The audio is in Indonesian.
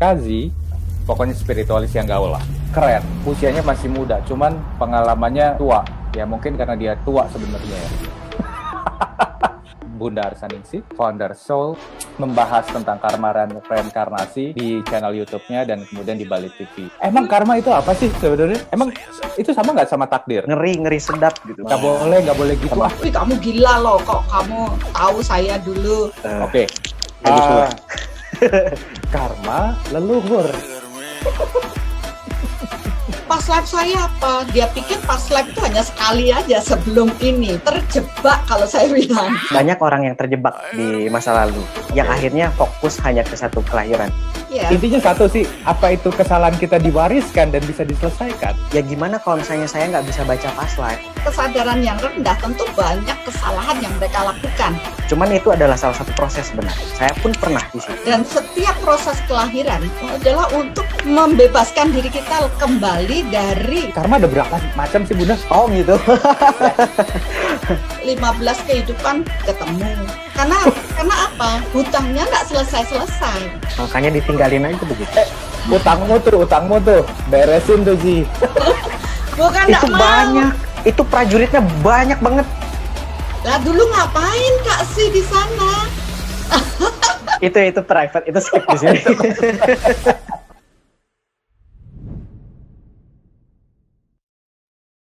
Kazi pokoknya spiritualis yang gaul lah keren usianya masih muda cuman pengalamannya tua ya mungkin karena dia tua sebenarnya ya Bunda Arsaningsih, founder Soul, membahas tentang karma dan reinkarnasi di channel YouTube-nya dan kemudian di Bali TV. Emang karma itu apa sih sebenarnya? Emang itu sama nggak sama takdir? ngeri ngeri sedap gitu. Nggak boleh, nggak boleh gitu. Wah, wih, kamu gila loh kok kamu tahu saya dulu. Eh, Ah, Oke. Bagus, Ah, Bunda. karma leluhur. Pas live saya apa? Dia pikir pas live itu hanya sekali aja sebelum ini. Terjebak kalau saya bilang. banyak orang yang terjebak di masa lalu yang akhirnya fokus hanya ke satu kelahiran. Ya, Intinya satu sih, apa itu kesalahan kita diwariskan dan bisa diselesaikan? Ya gimana kalau misalnya saya nggak bisa baca past life? kesadaran yang rendah tentu banyak kesalahan yang mereka lakukan. Cuman itu adalah salah satu proses benar. Saya pun pernah di situ. Dan setiap proses kelahiran adalah untuk membebaskan diri kita kembali dari Karma ada berapa macam sih Bunda? Oh gitu. 15 kehidupan ketemu. Karena karena apa? Hutangnya nggak selesai-selesai. Makanya ditinggalin aja begitu. Utangmu tuh, utangmu tuh. Beresin tuh Ji. Bukan itu nggak mau. banyak. Itu prajuritnya banyak banget. Lah dulu ngapain Kak Si di sana? Itu itu private. Itu skip di sini.